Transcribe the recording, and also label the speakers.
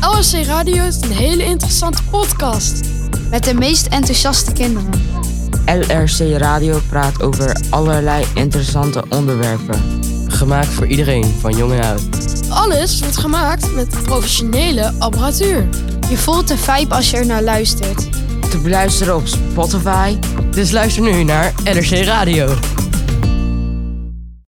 Speaker 1: OSC Radio is een hele interessante podcast.
Speaker 2: Met de meest enthousiaste kinderen.
Speaker 3: LRC Radio praat over allerlei interessante onderwerpen.
Speaker 4: Gemaakt voor iedereen, van jong en oud.
Speaker 1: Alles wordt gemaakt met professionele apparatuur.
Speaker 2: Je voelt de vibe als je er naar luistert.
Speaker 3: Te beluisteren op Spotify,
Speaker 4: Dus luister nu naar NRC Radio.